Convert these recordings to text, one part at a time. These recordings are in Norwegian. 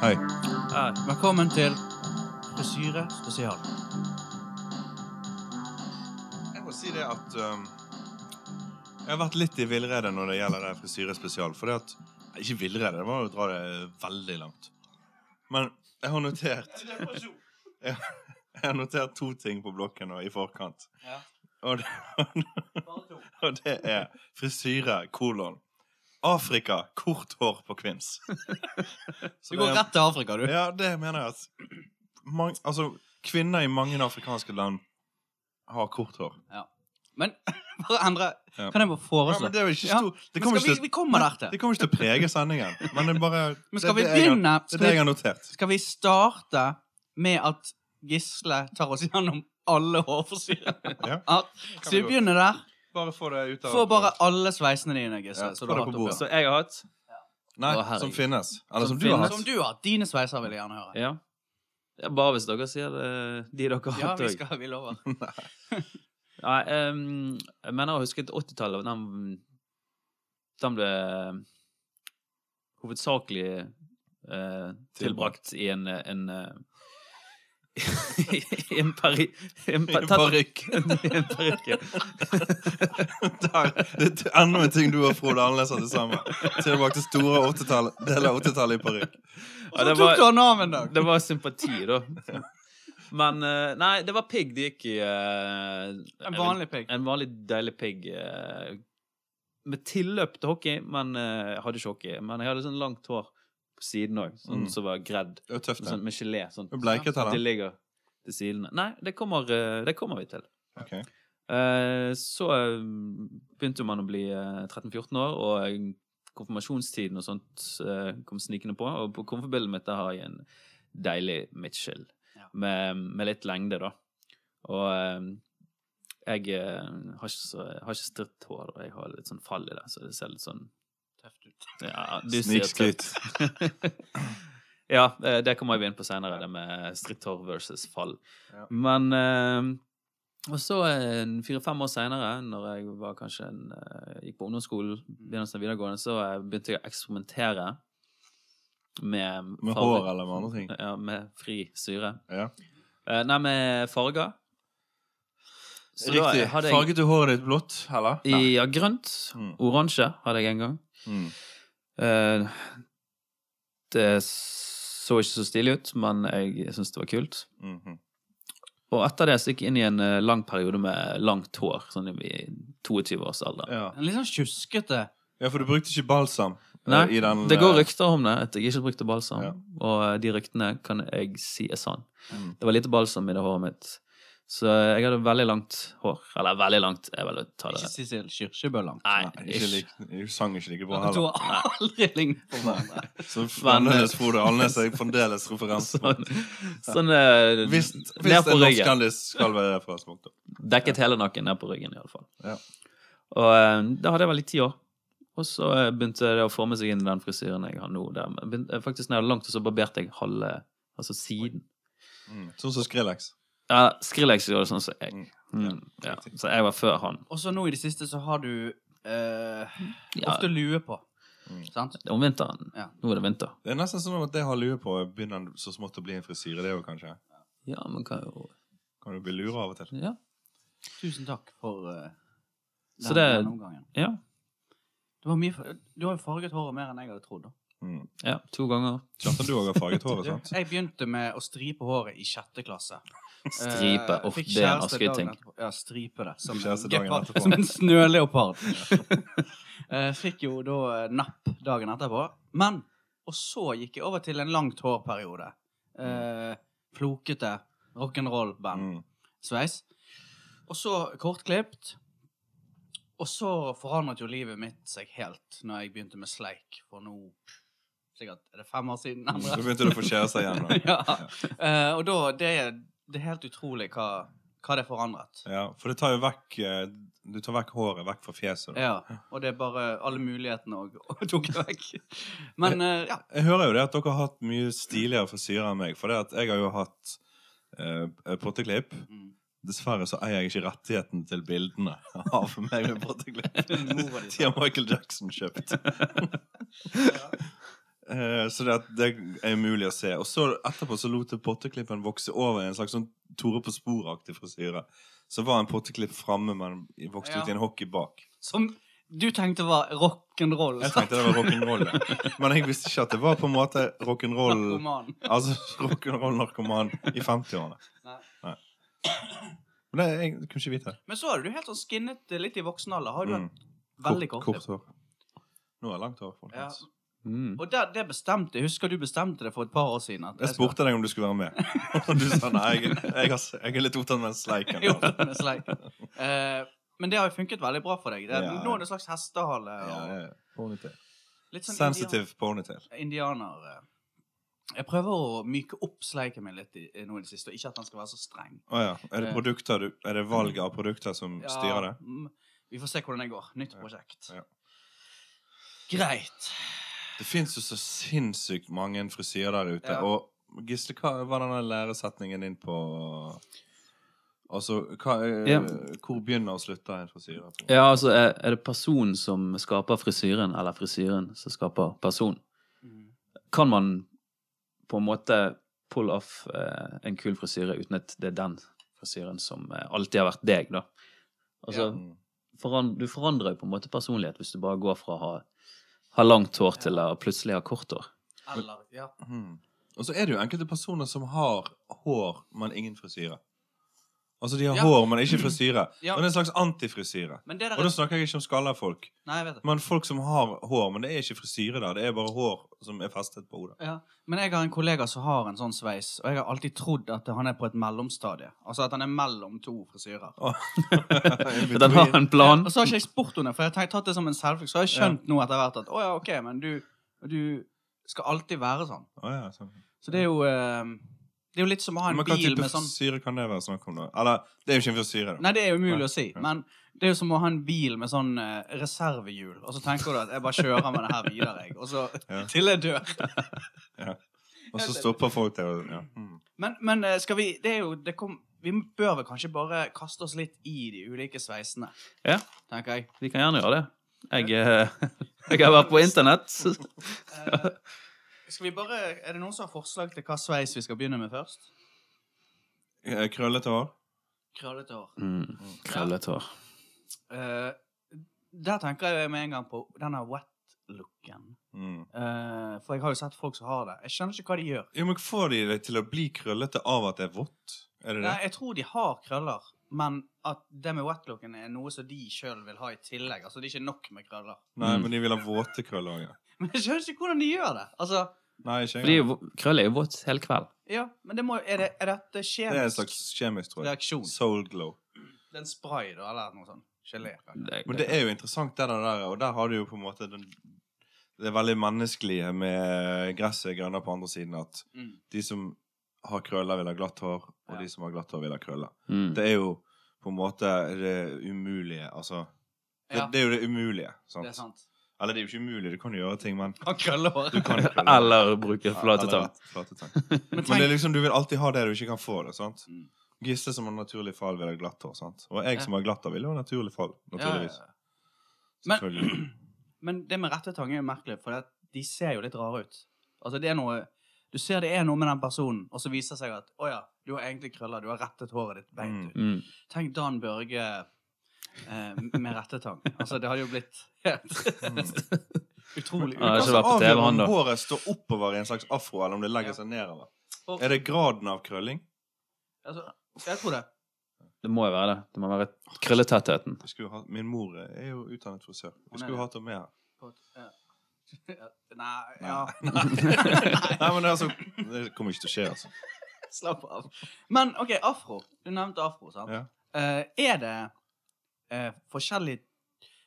Hei. Ja, velkommen til Frisyre spesial. Jeg må si det at um, Jeg har vært litt i villrede når det gjelder det frisyrespesial. For det at nei, Ikke villrede, det var jo å dra det veldig langt. Men jeg har notert jeg, jeg har notert to ting på blokken nå i forkant. Ja. Og det, og det er frisyre, kolon. Afrika, kort hår på kvinns. Du går rett til Afrika, du. Ja, det mener jeg at mang- Altså, kvinner i mange afrikanske land har kort hår. Men bare endre Ja. Kan jeg bare Ja, foreslå? men det er jo ikke Ja, stor det men kommer skal vi, ikke, vi kommer der til- til. det kommer ikke til å prege sendingen. Men det er bare Men skal vi det, er det jeg har- begynne? Det er Skal det jeg vi, har notert. skal vi starte med at Gisle tar oss gjennom alle hårforsyrene? Ja. Ja, Så vi godt. begynner der. Bare få det ut Få bare alle sveisene dine, Gisle. Ja, så få du det har på hatt bordet. opp, Så jeg har hatt. Nei, Å, herregud. som finnes. Eller som, Som du har ja. finnes. hatt. Som du har. Dine sveiser vil jeg gjerne høre. Ja. Det er Bare hvis dere sier det, de dere har Ja, hatt vi òg. skal, vi lover. Nei, ehm, jeg mener å huske at 80-tallet den, den ble hovedsakelig eh, tilbrakt i en, en eh, I en pari... En, I en parykk. I en parykk, ja. Der, det er enda en ting du og Frode Annerledes har til sammen. Tilbake til store 80-tallet. Del av 80-tallet i parykk. Ja, Så det tok var- du han av en dag. Det var sympati, da. Men eh, Nei, det var pigg det gikk i. eh, En vanlig pigg. En vanlig deilig pigg. eh, Med tilløp til hockey, men eh, jeg hadde ikke hockey. Men jeg hadde sånn langt hår på siden òg, sånn Mm. som var gredd. Det var tøft, Sånn, det. med gelé. Sånn. Du bleiket av At det den. ligger til sidene. Nei, det kommer, eh, det kommer vi til. Ok. Eh, Så eh, begynte man å bli eh, 13-14 år, og eh, konfirmasjonstiden og sånt eh, kom snikende på. Og på konfirmasjonsbildet mitt der har jeg en deilig Mitchell Ja. med, med litt lengde, da. Og eh, jeg eh, har ikke, så, jeg har ikke stritt hår, og jeg har litt sånn fall i det, så det ser litt sånn Tøft ut. ja, du sier tøft. Snikskryt. ja, eh, det kommer jeg inn på senere, det med stritt hår versus fall. Ja. Men eh, Og så eh, en fire-fem år senere, når jeg var kanskje en, eh, gikk på ungdomsskolen, Mm. begynnelsen av videregående, så eh, begynte jeg å eksperimentere med mm, Med farge- hår eller med andre ting. Ja, med fri syre. Ja. Eh, nei, med farger. Så da Riktig. hadde jeg- Farget du håret ditt blått, eller? I, ja, grønt. Mm. Oransje hadde jeg en gang. Mm. Eh, det så ikke så stilig ut, men jeg syntes det var kult. Mhm. Og etter det så gikk jeg inn i en eh, lang periode med langt hår, sånn i 22 års alder. ja. En litt sånn tjuskete ja, for du brukte ikke balsam eh, Nei, i den Det går eh, rykter om det, at jeg ikke brukte balsam, Ja. og eh, de ryktene kan jeg si er sann. Mm. Det var lite balsam i det håret mitt, så eh, jeg hadde veldig langt hår. Eller veldig langt, jeg vil ta det Ikke Sissel Kyrkjebø langt. Nei, Nei, ikke ikke. lik, du sang ikke like bra Dere to heller. har aldri lignet på hverandre. Så Men, eh, fremdeles Frode Alnes er fremdeles referansen. Sånn, sånn eh, Hvis, ned hvis på en norsk ryggen. kjendis skal være referansepunkt. da. Dekket hele nakken ned på ryggen, iallfall. Ja. Og eh, da hadde jeg vel i ti år. Og så eh, begynte det å forme seg inn i den frisyren jeg har nå. Der. Men begynte- eh, Faktisk når jeg hadde langt, så barberte jeg halve altså siden. Mm. Sånn som Skrillex. Ja, Skrillex gjorde det sånn som jeg. Mm. Mm, ja. Så jeg var før han. Og så nå i det siste så har du eh, Ja, ofte lue på. Mm. Sant? om vinteren. Ja. Nå er det vinter. Det er nesten sånn at det jeg har lue på, begynner så smått å bli en frisyre. Det er jo kanskje Ja, men hva Kan du bli lura av og til? Ja. Tusen takk for eh, Så den det- gjennomgangen. ja. Du har, mye, fa- du har jo farget håret mer enn jeg hadde trodd. da. Mm. ja to ganger. Kjartan, du òg har farget håret, sant? Jeg begynte med å stripe håret i sjette klasse. Stripe. Eh, Uff, fikk det er en kjæreste dagen asketing. etterpå. Ja, stripe det. Som, Kjæreste en dagen gepard- etterpå. som en snøleopard. Eh, fikk jo da eh, napp dagen etterpå. Men Og så gikk jeg over til en langt hårperiode. Eh, flokete rock'n'roll-band. Mm. Sveis. Og så kortklipt. Og så forandret jo livet mitt seg helt når jeg begynte med sleik. For nå Sikkert er det fem år siden. Så Andre. begynte du å få kjærester igjen. da. ja. Eh, og da det, det er helt utrolig hva, hva det forandret. Ja, for det tar jo vekk eh, Du tar vekk håret vekk fra fjeset. da. Ja, og det er bare alle mulighetene òg og tok det vekk. Men eh, ja. Jeg hører jo det at dere har hatt mye stiligere frisyrer enn meg. For det at jeg har jo hatt eh, potteklipp. Mm. Dessverre så eier jeg ikke rettigheten til bildene av meg med potteklipp. Mora di De har Michael Jackson kjøpt. Eh, Så det, at det er mulig å se. Og så etterpå så lot jeg potteklippen vokse over i en slags sånn Tore på sporet-aktig frisyre. Så var en potteklipp framme, men vokste ut i en hockey bak. Som du tenkte var rock'n'roll. Jeg tenkte det var rock'n'roll, ja. men jeg visste ikke at det var på en måte rock'n'roll Narkoman. Altså rock'n'roll-narkoman i 50-årene. Nei. Nei. Men det, jeg kunne ikke vite det. Men så er du helt sånn skinnet eh, litt i voksen alder. Har du Mm. hatt veldig kort, kort hår. Nå er det langt hår, folkens. Mm. Og det, det bestemte jeg. Husker du bestemte det for et par år siden? at Jeg spurte deg om du skulle være med, og du sa nei. Jeg, jeg, har, jeg er litt opptatt med sleiken. Jo, med sleik. Eh, men det har jo funket veldig bra for deg. Det, Ja. Nå er det en slags hestehale. Ja, Og ja, ja. Ponytail. litt sånn Sensitive ponytail. indian- indianer. eh. Jeg prøver å myke opp sleiken min litt i, i nå i det siste, og ikke at han skal være så streng. Å ja. Er det, Eh. produkter du, er det valget av produkter som Ja, styrer det? mm, Vi får se hvordan det går. Nytt Ja. prosjekt. Ja. Greit. Det fins jo så sinnssykt mange frisyrer der ute. Ja. Og Gisle, hva var den der læresetningen din på Altså, hva, er- Ja. hvor begynner og slutter en frisyre? på? Ja, altså, er, er det personen som skaper frisyren, eller frisyren som skaper person? Mm. Kan man på en måte pull off eh, en kul frisyre uten at det er den frisyren som eh, alltid har vært deg, da? Altså, Ja. Mm. foran, du forandrer jo på en måte personlighet hvis du bare går fra å ha, ha langt hår til å plutselig ha kort hår. Eller Ja. Mhm. Og så er det jo enkelte personer som har hår, men ingen frisyre. Altså, de har Ja. hår, men ikke frisyre. Ja. Og det er en slags antifrisyre. Men det der Og er da snakker jeg ikke om skallafolk, Nei, jeg vet det. men folk som har hår. Men det er ikke frisyre der, det er bare hår som er festet på hodet. Ja. Men jeg har en kollega som har en sånn sveis, og jeg har alltid trodd at han er på et mellomstadie. Altså at han er mellom to frisyrer. Den har en plan. Og så har ikke jeg spurt henne, for jeg har tatt det som en selvfølge. Så har jeg skjønt nå etter hvert at å ja, ok, men du, du skal alltid være sånn. Å ja, sånn. Så det er jo eh, Det er jo litt som å ha en Men hva bil type med sånn frisyre kan det være snakk om? da? Eller, det er jo ikke en frisyre. da. Nei, det er jo umulig Nei, å si, ja. men det er jo som å ha en bil med sånn eh, reservehjul, og så tenker du at jeg bare kjører med det her videre, jeg, og så Ja. til jeg dør. Og så stopper folk det. og- Ja. Mm. Men, men eh, skal vi Det er jo det kom, Vi bør vel kanskje bare kaste oss litt i de ulike sveisene, Ja. tenker jeg. Vi kan gjerne gjøre det. Jeg, eh, jeg har vært på internett. Eh, skal vi bare Er det noen som har forslag til hva sveis vi skal begynne med først? Eh, Krøllete hår? Krøllete hår. Mm, Krøllete hår. Eh, der tenker jeg med en gang på denne wet-looken. Mm. Eh, for jeg har jo sett folk som har det. Jeg skjønner ikke hva de gjør. Jo, men Får de det til å bli krøllete av at det er vått? Er det det? Nei, jeg tror de har krøller, men at det med wet-looken er noe som de sjøl vil ha i tillegg. Altså, det er ikke nok med krøller. Nei, Mm. men de vil ha våte krøller òg. Ja. Men jeg skjønner ikke hvordan de gjør det. Altså, Nei, ikke Fordi engang. v- krøll er jo våt hele kveld. ja, men det må, er, det, er dette Det er en kjemisk slags kjemisk, tror jeg. reaksjon? Soul glow. Det er en spray, da, eller noe sånt? Gelé? kanskje? Men det er jo interessant, det der, der, og der har du jo på en måte den, det veldig menneskelige med gresset grønner på andre siden, at Mm. de som har krøller, vil ha glatt hår, og Ja. de som har glatt hår, vil ha krøller. Mm. Det er jo på en måte det umulige, altså. Det, Ja, det er jo det umulige, sant? det er sant. Eller det er jo ikke umulig, du kan jo gjøre ting, men Kan krøllehår. du kan jo krølle. Eller bruke flate Eller tang. rett, flate tang. Men Men det er tenk, liksom, du vil alltid ha det du ikke kan få. det, sant? Mm. Gisle som har naturlig fall, vil ha glatt hår. sant? Og jeg Ja. som har glatt hår, vil jo ha naturlig fall. naturligvis. Ja, ja, ja. Men- Selvfølgelig. Men det med rette tang er jo merkelig, for det, at de ser jo litt rare ut. Altså, det er noe Du ser det er noe med den personen, og så viser det seg at å ja, du har egentlig krøller, du har rettet håret ditt beint ut. Mm. Tenk Dan Børge eh, med rettetang. Altså, det hadde jo blitt helt Mm. utrolig Ja, Hva det er ikke ukost. som vært på TV, avgjør han, om da. håret står oppover i en slags afro, eller om det legger Ja. seg nedover? Og- Er det graden av krølling? Altså, jeg tror det. Det må jo være det. Det må være krølletettheten. Vi skulle jo hatt- Min mor er jo utdannet frisør. Hun er Vi skulle det. jo hatt henne med her. På et- ja. Nei, ja. Nei, men det, er altså, det kommer ikke til å skje, altså. Slapp av. Men OK, afro. Du nevnte afro, sant? Ja. Eh, er det eh, forskjellig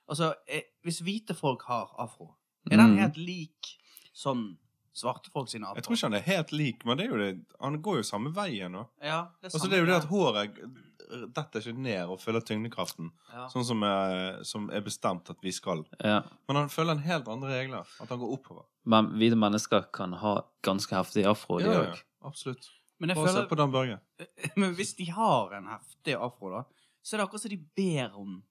Altså, eh, hvis hvite folk har afro, er den Mm. helt lik sånn svarte folk sine afro? Jeg tror ikke han er helt lik, men det er jo det, han går jo samme veien nå. Ja, det er, Altså, samme det er jo det at greie. håret detter ikke ned og følger tyngdekraften. ja. Sånn som er, som er bestemt at vi skal. Ja. Men han følger en helt andre regler. At han går oppover. Men hvite mennesker kan ha ganske heftig afro, de òg. Absolutt. Men jeg Bare se føler på Dan Børge. Men hvis de har en heftig afro, da, så er det akkurat som de ber om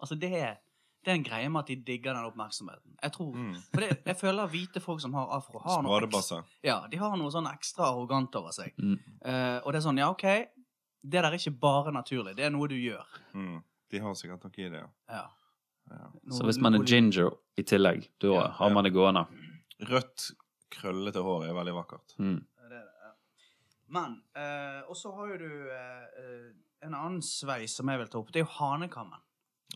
Altså, det er, Det er en greie med at de digger den oppmerksomheten. Jeg tror, Mm. for det, jeg føler hvite folk som har afro, har noe, ekstra, Smadrebasser. ja, de har noe sånn ekstra arrogant over seg. Mm. Eh, og det er sånn, ja, OK, det der er ikke bare naturlig. Det er noe du gjør. Mm. De har sikkert noe i det. ja. Ja. Ja. Noe- Så hvis man er noe- ginger i tillegg, da Ja, har man det gående. Rødt, krøllete hår er veldig vakkert. Mm. Ja, det er det, ja. Men eh, Og så har jo du eh, eh, en annen sveis som jeg vil ta opp. Det er jo hanekammen.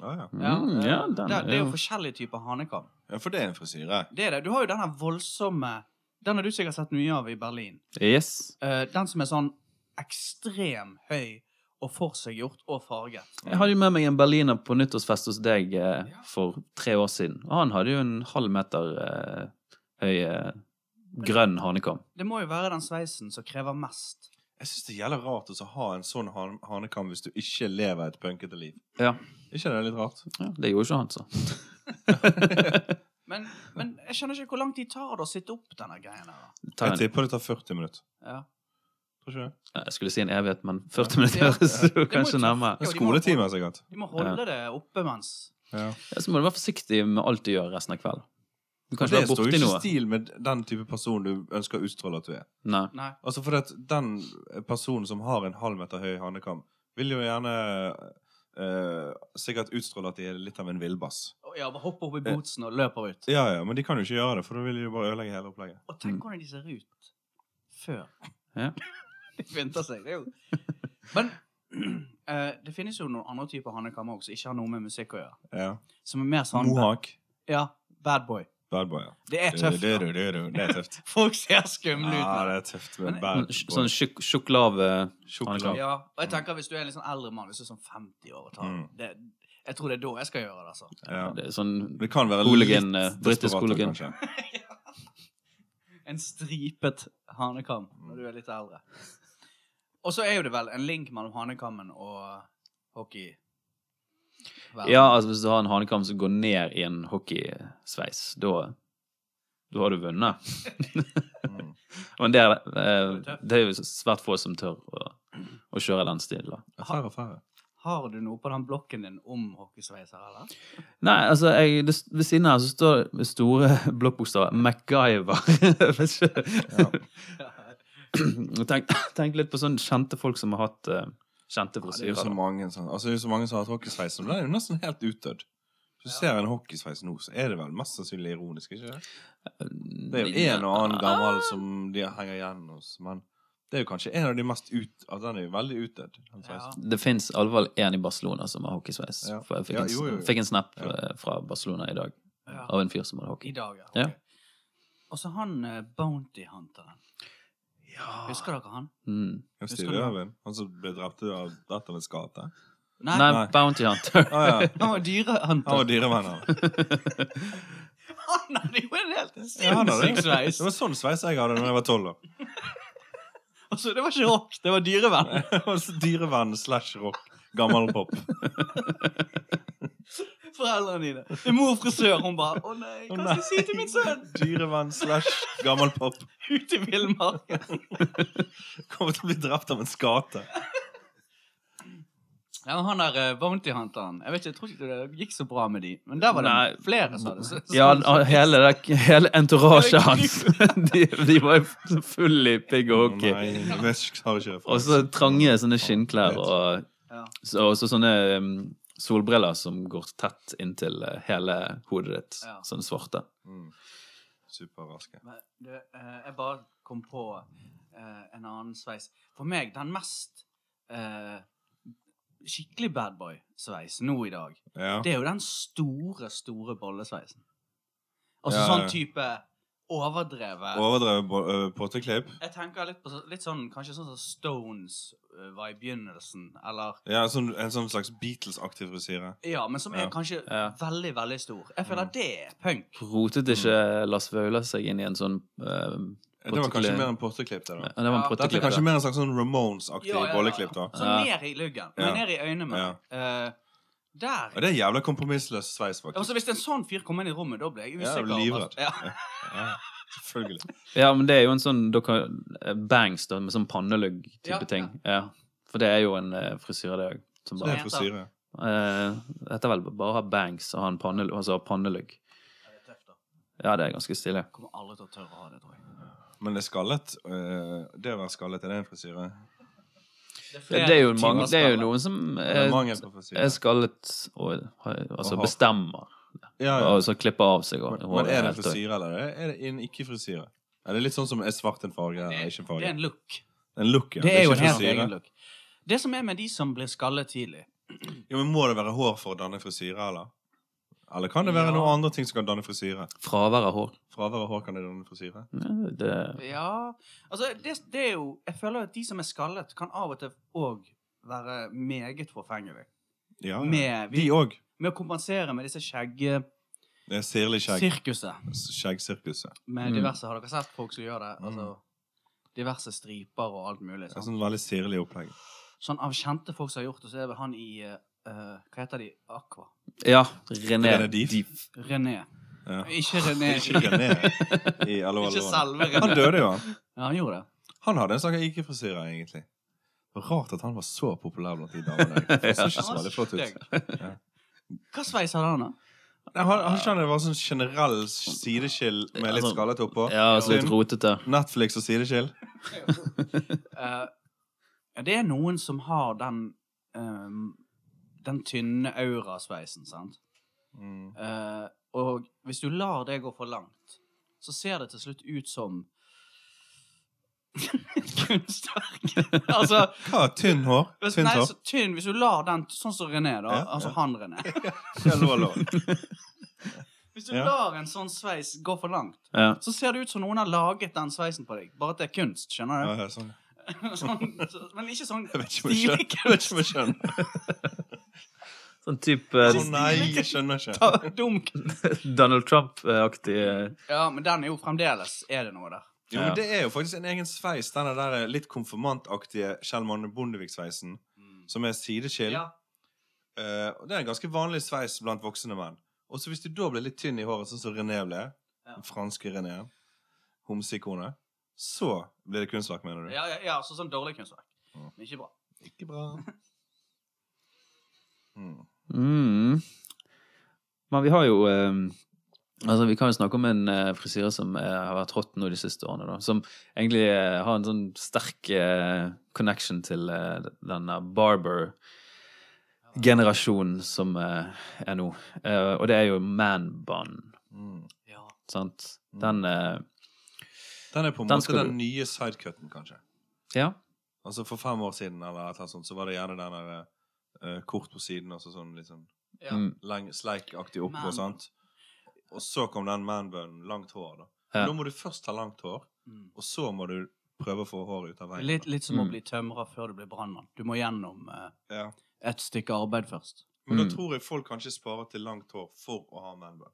Ja, ja. Mm, eh, ja, den det, det er er jo jo forskjellige typer hanekam. ja, for det er en frisyre. Det er det. Du har jo denne voldsomme Den har du sikkert sett mye av i Berlin. Yes. Eh, den som er sånn ekstrem høy og forseggjort og farget. Jeg hadde jo med meg en berliner på nyttårsfest hos deg eh, for tre år siden. Og han hadde jo en halv meter eh, høy eh, grønn hanekam. Det må jo være den sveisen som krever mest. Jeg syns det gjelder rart å ha en sånn han hanekam hvis du ikke lever et punkete liv. Ja. Ikke det er litt rart? ja. Det gjorde ikke han, så. Men, men jeg skjønner ikke hvor lang tid tar det å sitte opp denne greien her. da. Ta Jeg en, Eh, tipper det tar 40 minutter. Ja. Tror ikke det? jeg skulle si en evighet, men 40 minutter Ja. høres jo må jo kanskje ta- nærmere. Det Ja, er de må- skoletimer, sikkert. De må holde det oppe mens Ja. Ja, så må du være forsiktig med alt du gjør resten av kvelden. Du kan ikke Det være står jo borti ikke noe. i stil med den type person du ønsker å utstråle at du er. Nei. Nei. Altså fordi at den personen som har en halv meter høy hanekam, vil jo gjerne eh, sikkert utstråle at de er litt av en villbass. Ja, bare hopper opp i bootsen og løper ut. Ja, ja, men de kan jo ikke gjøre det, for da vil de jo bare ødelegge hele opplegget. Og tenk hvordan de ser ut før Ja. de pynter seg. Det er jo Men eh, det finnes jo noen andre typer hannekammer også, som ikke har noe med musikk å gjøre. Ja. Som er mer sånn Mohawk. Ja, bad boy. Bad boy, ja. Det er tøft. Det, da. det, det, det, det er tøft. Folk ser skumle ut. med Ja, det det. er tøft med Men- bad boy. Sånn tjukk tjukk lav eh, Sjokolade. hanekam. Ja, og jeg tenker Hvis du er en litt sånn eldre mann, hvis du er sånn 50 år og tar Mm. det, Jeg tror det er da jeg skal gjøre det. altså. Ja. Det er sånn Det kan være Hooligan, eh, litt britisk desperat, hooligan. kanskje. En stripet hanekam når du er litt eldre. Og så er jo det vel en link mellom hanekammen og hockey. Ja, altså hvis du har en hanekam som går ned i en hockeysveis, da da har du vunnet. Mm. Men det er, eh, det er jo svært få som tør å, å kjøre den stilen. da. Færre og færre. Har du noe på den blokken din om hockeysveiser, eller? Nei, altså, jeg, det, ved siden her så står det med store blokkbokstaver MacGyver. Jeg vet ikke. tenk, tenk litt på sånne kjente folk som har hatt eh, kjente Det er jo så frisyrer. da. mange, som- altså, det er jo så mange som har hatt hockeysveis, og det er jo nesten helt utdødd. Hvis du ser en hockeysveis nå, så er det vel mest sannsynlig ironisk, ikke det? Det er jo en og annen Ah. gammel som de henger igjen hos, men det er jo kanskje en av de mest ut... Altså, den er jo veldig utdødd, den sånn, sveisen. Det fins alvorlig én i Barcelona som har hockeysveis. Ja. For jeg fikk, Ja, en, jo, jo, jo. fikk en snap Ja. eh, fra Barcelona i dag Ja. av en fyr som hadde I hockey. dag, ja. Ja. ok. Og så han eh, Bounty Hunteren. Husker dere han? Mm. Ja, Husker Steve du han? Irwin, han som ble drept av Datterens gate. Nei, Nei, Nei. Bounty Hunter. Å ja. han var Han var dyrehunter. dyrevenner. Han hadde jo en helt Ja, han hadde sinnssyk det. sveis! Det var sånn sveis jeg hadde da jeg var tolv år. Altså, det var ikke rock, det var dyrevenn. Jeg var så Dyrevenn slash rock. Gammel pop. Foreldrene dine. Det er mor frisør, hun bare 'Å nei, Å hva skal jeg si til min sønn?' Dyrevenn slash gammel pop. Ut i villmarken. Kommer til å bli drept av en skate. Ja, men han der eh, Bounty Hunteren Jeg vet ikke, jeg tror ikke det gikk så bra med de. Men der var det Nei. flere, sa du. Så- så- Ja, han- hele, det- hele entourasjet hans. De, de var jo full i pigg og hockey. Nei, jeg vet ikke, har ikke Og så trange sånne skinnklær og Ja. så, og så sånne um, solbriller som går tett inntil eh, hele hodet ditt. Ja. Sånne svarte. Mm. Superraske. Men du, eh, jeg bare kom på eh, en annen sveis. For meg, den mest eh, skikkelig badboy-sveis nå i dag, Ja. det er jo den store, store bollesveisen. Altså Ja, ja, sånn ja. type overdrevet Overdrevet eh, på- ø, påteklipp. Jeg tenker litt på så- litt sånn kanskje sånn som Stones eh, var i begynnelsen, eller Ja, sånn, en sånn slags Beatles-aktig frisyre. Ja, men som er Ja. kanskje Ja. Mm. veldig, veldig stor. Jeg føler det er punk. Rotet ikke Mm. Lars Vaular seg inn i en sånn um, Det var kanskje Potteklipp. mer en potteklipp. Det, da. Det var en Ja, Dette er potteklipp. kanskje da. mer en slags sånn Ramones-aktig bolleklipp. da. Så Ja. Sånn ned i luggen. Ja. Men ned i øynene. Ja. Eh, der. Og det er en jævla kompromissløs sveis, faktisk. Altså, hvis en sånn fyr kom inn i rommet, da ble jeg Ja, jeg usikker. ble livredd. Ja. Ja, selvfølgelig. Ja, men det er jo en sånn da kan, eh, bangs da, med sånn pannelugg-type Ja, ting. Ja. For det er jo en eh, frisyre, det òg. Som Det bare er frisyre. Eh, Dette er vel bare å ha bangs og ha en pannelugg. Altså ha pannelugg. Ja, det er tøft, da. Ja, det er ganske stille. Kommer aldri til å tørre å ha det, tror jeg. Men det er skallet. eh, Det å være skallet, er det en frisyre? Det er jo, mange, det er jo noen som Eh, Eller er, mangel på frisyre? er skallet og har- altså Og har- bestemmer. Ja, ja. Og så klipper av seg Men, håret. men er det helt, og- frisyre, eller er det- er det en ikke-frisyre? Er det litt sånn som er svart en farge eller ikke en Det er farge? en look. En look, ja. Det er jo en ikke helt frisyre. egen look. Det som er med de som blir skallet tidlig Jo, men Må det være hår for å danne frisyre, eller? Eller kan det være Ja. noen andre ting som kan danne frisyre? Fravær av hår. Fravær av hår kan det danne frisyre. Ja, Det, Ja Altså, det, det er jo Jeg føler at de som er skallet, kan av og til òg være meget forfengelige. Ja, ja. Med, De òg. med å kompensere med disse skjegg-sirkuset. Det er sirlig skjegg. Skjeggsirkuset. Med Mm. diverse Har dere sett folk som gjør det? Mm. Altså, diverse striper og alt mulig. Det er Sånn. sånn veldig sirlig opplegg. sånn av kjente folk som har gjort det, så er vel han i eh, eh, Hva heter de? Aqua? ja, René, René Diff. Diff. René. Ja. Ikke René. Ikke René i Allo, Ikke Allo. selve Han René. døde jo, han. Ja, han gjorde det. Han hadde en sak jeg ikke frisyrer, egentlig. Rart at han var så populær blant de damene. Han så ikke så veldig flott ut. Stygg. Ja. Hva sveis hadde han, da? Nei, han, han skjønner det var sånn generell sideskill med litt Altså, skallet oppå. Ja, altså litt rotete. Netflix og sideskill. Eh, det er noen som har den ehm, den tynne aurasveisen, sant? Mm. Eh, og hvis du lar det gå for langt, så ser det til slutt ut som kunstverk. altså Hva? Tynn hår? hvis, Tynt Nei, hår? så tynn. Hvis du lar den Sånn som René, da. Ja, altså ja. han René. Ja, lå, lå. Hvis du Ja. lar en sånn sveis gå for langt, Ja. så ser det ut som noen har laget den sveisen på deg. Bare at det er kunst, Ja, skjønner du? ja, sånn. sånn, så, men ikke sånn Jeg vet ikke om jeg skjønner. stilig Jeg vet ikke om kunst. jeg skjønner. Sånn type Å eh, nei, jeg skjønner ikke. Ta- sånn Dum kunst. Donald Trump-aktig eh, Ja, men den er jo fremdeles Er det noe der? Jo, men det er jo faktisk en egen sveis, denne der litt konfirmantaktige Kjell Magne Bondevik-sveisen, som er sideskill. Ja. Eh, og det er en ganske vanlig sveis blant voksne menn. Og så hvis du da blir litt tynn i håret, sånn som René ble, Ja. den franske René, homseikonet, så blir det kunstverk, mener du? Ja, ja, ja så sånn dårlig kunstverk. Mm. Men ikke bra. Ikke bra. Mm. mm. Men vi har jo eh, Altså, Vi kan jo snakke om en eh, frisyre som eh, har vært hot nå de siste årene. da, Som egentlig eh, har en sånn sterk eh, connection til eh, denne barber-generasjonen som eh, er nå. Eh, og det er jo man-bun, Mm. Ja. sant? Den eh, Den er på en Den måte skal den du- nye sidecuten, kanskje. Ja. Altså For fem år siden eller et eller annet sånt, så var det gjerne den der eh, kort på siden og så sånn litt sånn Ja. Mm. leng- sleikaktig oppå, Man. sant? Og så kom den manbunnen. Langt hår, da. Ja. Nå må du først ha langt hår, Mm. og så må du prøve å få håret ut av veien. Litt, litt som å Mm. bli tømrer før du blir brannmann. Du må gjennom eh, Ja. et stykke arbeid først. Men Mm. da tror jeg folk kanskje sparer til langt hår for å ha manbun.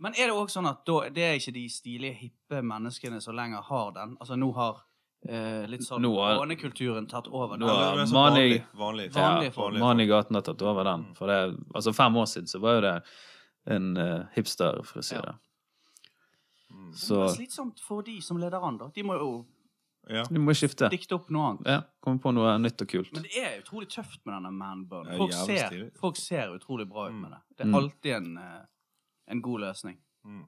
Men er det også sånn at da, det er ikke de stilige, hippe menneskene som lenger har den? Altså nå har eh, litt sånn Nå har- barnekulturen tatt over. Nå den. har- Eller det er sånn Mani- vanlig- vanlig- Vanlige folk. vanlige Mannen i gaten har tatt over den. Mm. For det, altså Fem år siden så var jo det en eh, hipsterfrisyre. Mm. Men det er Så slitsomt for de som leder an, da. De må jo Ja. du må skifte. dikte opp noe annet. Ja, Komme på noe nytt og kult. Men det er utrolig tøft med denne manbun. Det er Folk, jævlig ser, stilig. folk ser utrolig bra ut Mm. med det. Det er Mm. alltid en, eh, en god løsning. Mm.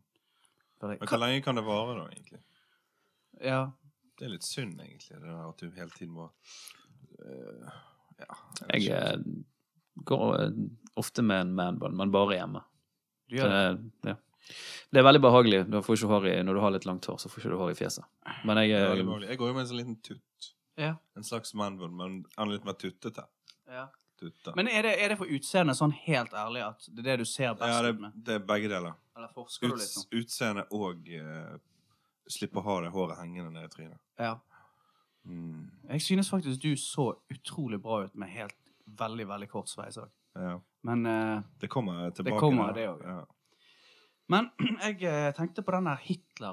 For Men det. hvor lenge kan det vare, da, egentlig? Ja. Det er litt synd, egentlig, det der at du hele tiden må eh, Ja. vet Jeg ikke. eh, går eh, ofte med en manbun, men bare hjemme. Du Så gjør det. det, ja. det er veldig behagelig. Du får ikke hår i, når du har litt langt hår, så får ikke du hår i fjeset. Men jeg, Det er eh, veldig behagelig. jeg går jo med en sånn liten tutt. Ja. En slags manbun, men han er litt mer tuttete. Ja. Tutta. Men er det, er det for utseendet sånn helt ærlig at det er det du ser best ja, det, ut med? det er begge deler. Eller forsker du litt Uts, sånn? utseende og eh, slippe å ha det håret hengende ned i trynet. Ja. Mm. Jeg synes faktisk du så utrolig bra ut med helt veldig, veldig kort sveis òg. Ja. Men, eh, Det kommer tilbake. kommer, da. det også. Ja. men jeg eh, tenkte på den der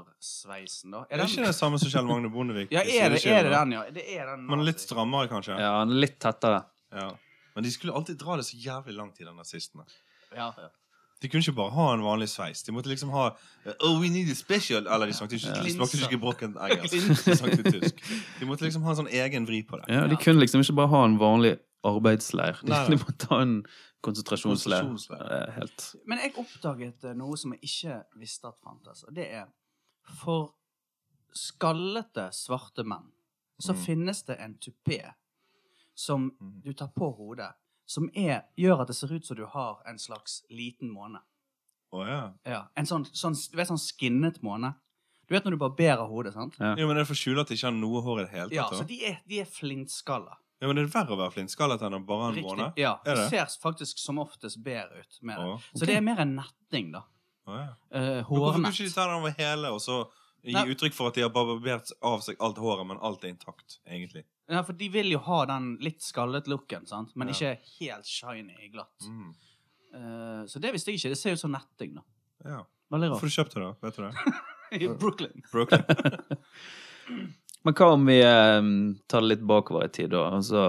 Hitler-sveisen, da. Er det ikke det samme som Kjell Magne Bondevik? Ja, er det, sier er det da? den, ja? Det er den. Men litt nazi. strammere, kanskje? ja, han er litt tettere. Ja. Men de skulle alltid dra det så jævlig langt i de nazistene. Ja, ja. De kunne ikke bare ha en vanlig sveis. De måtte liksom ha eh, Oh, we need a special Eller de snakket ikke, Ja. de snakket ikke Glinser. brokken engelsk. De snakket tysk. De måtte liksom ha en sånn egen vri på det. Ja, de Ja. kunne liksom ikke bare ha en vanlig arbeidsleir. De, Nei. de må ta en konsentrasjonsleir. Konsentrasjonsleir. Eh, Helt. Men jeg oppdaget eh, noe som jeg ikke visste at fantes, og det er for skallete svarte menn så Mm. finnes det en tupé som Mm. du tar på hodet, som er, gjør at det ser ut som du har en slags liten måne. Å ja. Ja, en sånn, sånn, du vet, sånn skinnet måne. Du vet når du barberer hodet, sant? Jo, men det er for å skjule at de ikke har noe hår i det hele tatt. Ja, da. så de er, de er flintskalla. Ja, men det er verre å være flintskallet enn å bare ha en måne. Ja, Er de det? ser faktisk som oftest bedre ut med det. Å, Så det er mer en netting, da. å ja. Eh, Men Hvorfor kan hårnett. ikke de ta den over hele og så gi Nei. uttrykk for at de har barbert av seg alt håret, men alt er intakt, egentlig? Ja, for de vil jo ha den litt skallet looken, sant? men Ja. ikke helt shiny glatt. Mm. Eh, så det visste jeg ikke. Det ser ut som netting, da. Ja. Veldig Hvorfor rart. du kjøpte det? Vet du det? I Brooklyn. Brooklyn. Men hva om vi eh, tar det litt bakover i tid, da? Altså,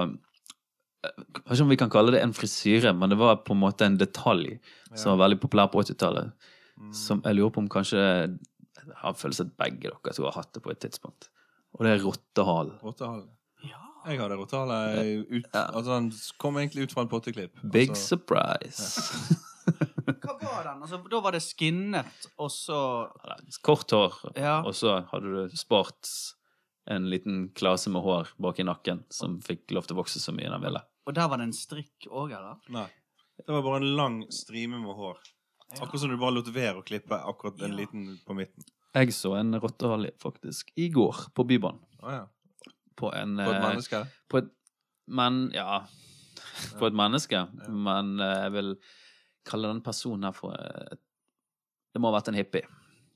eh, kanskje om vi kan kalle det en frisyre, men det var på en måte en detalj som var veldig populær på 80-tallet. Mm. Som jeg lurer på om kanskje jeg har en følelse at begge dere to har hatt det på et tidspunkt. Og det er rottehalen. Rottehale. Ja. Jeg hadde rotale ut Ja. Altså, den kom egentlig ut fra en potteklipp. Big altså, surprise. Hva var den? Altså, da var det skinnet, og så Kort hår, Ja. og så hadde du spart en liten klase med hår bak i nakken som fikk lov til å vokse så mye den ville. Og der var det en strikk òg, eller? Nei. Det var bare en lang strime med hår. Ja. Akkurat som du bare lot være å klippe akkurat en Ja. liten på midten. Jeg så en rottehale faktisk i går på Bybanen. Å ja. På en På et eh, menneske? På et Men ja På et menneske. Ja. Men eh, jeg vil kalle den personen her for eh, Det må ha vært en hippie.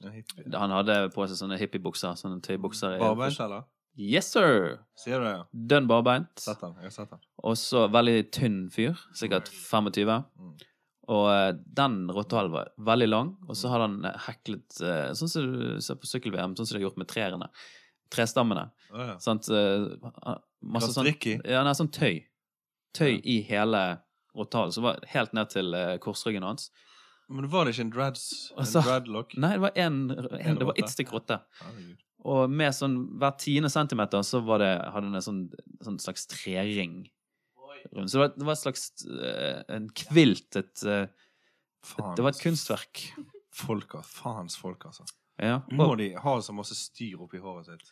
Ja, hippie. Han hadde på seg sånne hippiebukser. Sånne tøybukser. i- Barbeint, eller? Yes, sir! Sier du det? ja? Dønn barbeint. Sett den. Jeg har sett den. Og så veldig tynn fyr. Sikkert 25. Mm. Og eh, den rottehalen var veldig lang, og Mm. så har han eh, heklet eh, sånn som du ser på sykkel-VM, sånn som de har gjort med trærne. Trestammene. Å ja. Sant? eh, ha- Masse sånn Strikk i. Ja, nei, sånn tøy. Tøy i hele rottalen, som var helt ned til eh, korsryggen hans. Men var det ikke en dreads? En Altså, dreadlock? Nei, det var en, en, det var rotte. ett stykk rotte. Herregud. Og med sånn hver tiende centimeter så var det, hadde den en sånn, sånn slags trering rundt. Så det var, det var et slags eh, en kvilt, et eh, Faen. Det var et kunstverk. Folk, altså. Faens folk, altså. Mm. Ja. Må Og, de ha så masse styr oppi håret sitt?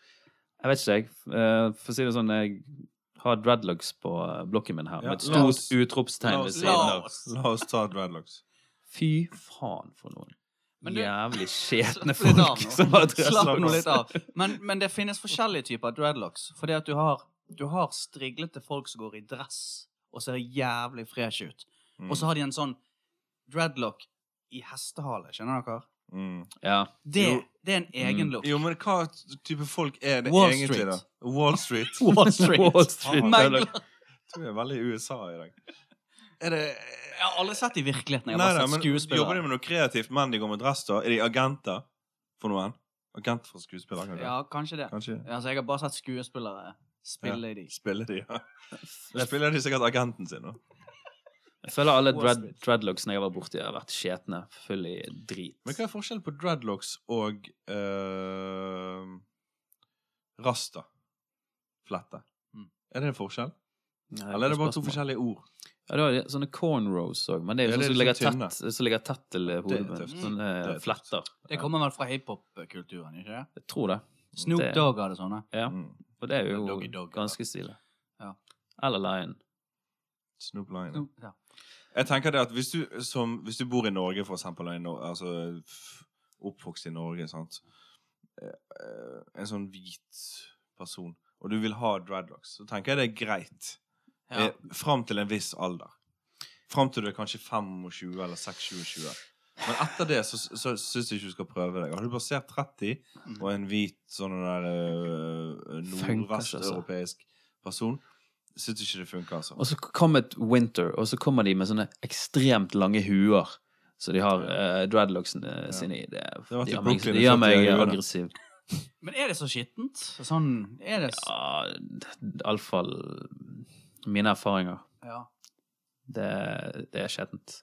jeg vet ikke, jeg. eh, for å si det sånn, jeg har dreadlocks på eh, blokken min her, Ja, med et la stort oss- utropstegn la ved oss- siden av. la oss- La oss ta dreadlocks. Fy faen for noen. Men du- Jævlig skjetne Slapp litt av folk nå. som har Slapp nå dreadlocks. litt av. Men, men det finnes forskjellige typer dreadlocks. Fordi at du har, du har striglete folk som går i dress og ser jævlig fresh ut. Mm. Og så har de en sånn dreadlock i hestehale, skjønner dere? Mm. Ja. Det, Jo. Mm. det er en egen look. Jo, men hva type folk er det Wall egentlig, Street. da? Wall Street. Wall Street. Wall Street Ah. dreadlock. Megla- Du er veldig i USA i dag. Er det Jeg har aldri sett det i virkeligheten. Jeg har Nei, bare sånn sett nei, men Jobber de skuespillere. med noe kreativt men de går med dress, da? Er de agenter for noen? Agent for skuespillere, kanskje? Ja, kanskje det. Kanskje? Altså, jeg har bare sett skuespillere spille i de. Spiller de, ja. Da Spiller de sikkert agenten sin, da? Jeg føler alle Wall dread, Street. dreadlocksene jeg var borti, har vært skjetne. Full i drit. Men hva er forskjellen på dreadlocks og uh, rasta? Flette. Mm. Er det en forskjell? Nei, Eller er det bare to spørsmål. forskjellige ord? Ja, du har de- sånne cornrows òg, men det er Ja, jo det sånn er som ligger, litt sånn tett, som ligger tett til eh, Det er hodebunnen. tøft. Sånne Det eh, er tøft. fletter. Det kommer vel fra hiphop-kulturen, ikke det? Jeg tror det. Snoop Det- Dogg hadde sånne. Ja. Mm. Og det er Ja, jo doggy dog, ja. ganske stilig. Ja. Eller lion. Snoop Lion. Snoop- Ja. Jeg tenker det at hvis du, som, hvis du bor i Norge, for eksempel, og i Nor- altså, f- oppvokst i Norge, sant? Eh, eh, en sånn hvit person, og du vil ha dreadlocks, så tenker jeg det er greit. Ja. Eh, Fram til en viss alder. Fram til du er kanskje 25 eller 26-27. Men etter det så, så syns jeg ikke du skal prøve deg. Har du passert 30 og en hvit sånn der eh, Funker ikke, altså. nordvesteuropeisk person, syns ikke det funker, altså. Og så kom et winter, og så kommer de med sånne ekstremt lange huer. Så de har eh, dreadlocksene sine i. Det, Det var de til gjør meg, Brooklyn, så de gjør at de meg gjør det. aggressiv. Men er det så skittent? Sånn, er det s- Ja, iallfall Ah, mine erfaringer. Ja. Det, det er skjettent.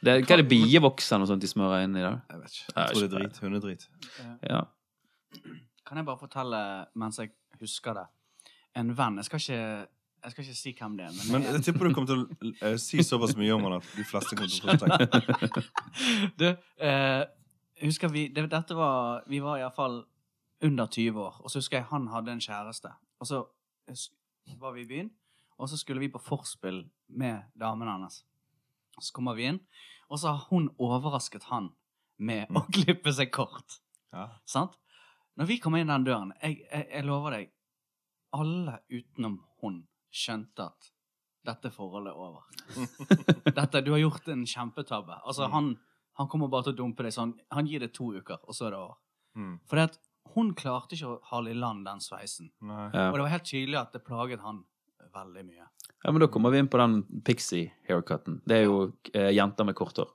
Det, hva er det bievoks eller noe sånt de smører inn i det? Jeg vet ikke. Nei, Jeg tror det ikke er drit. Hundedrit. Eh, Ja. Kan jeg bare fortelle, mens jeg husker det En venn, jeg skal ikke Jeg skal ikke si hvem det er, men, Men det er jeg tipper du kommer til å eh, si såpass mye om han at de fleste kommer til å forstå. Du, eh, husker vi det, Dette var Vi var iallfall under 20 år, og så husker jeg han hadde en kjæreste. Og så hus- var vi i byen, og så skulle vi på forspill med damen hans. Så kommer vi inn, og så har hun overrasket han med å klippe seg kort. Ja. Sant? Når vi kom inn den døren, jeg, jeg, jeg lover deg, alle utenom hun skjønte at dette forholdet er over. dette, du har gjort en kjempetabbe. Altså, Mm. han, han kommer bare til å dumpe deg sånn. Han gir det to uker, og så er det over. Mm. For at hun klarte ikke å hale i land den sveisen. Nei. Ja. Og det var helt tydelig at det plaget han veldig mye. Ja, men da kommer vi inn på den pixie-haircuten. Det er jo eh, jenter med kort hår.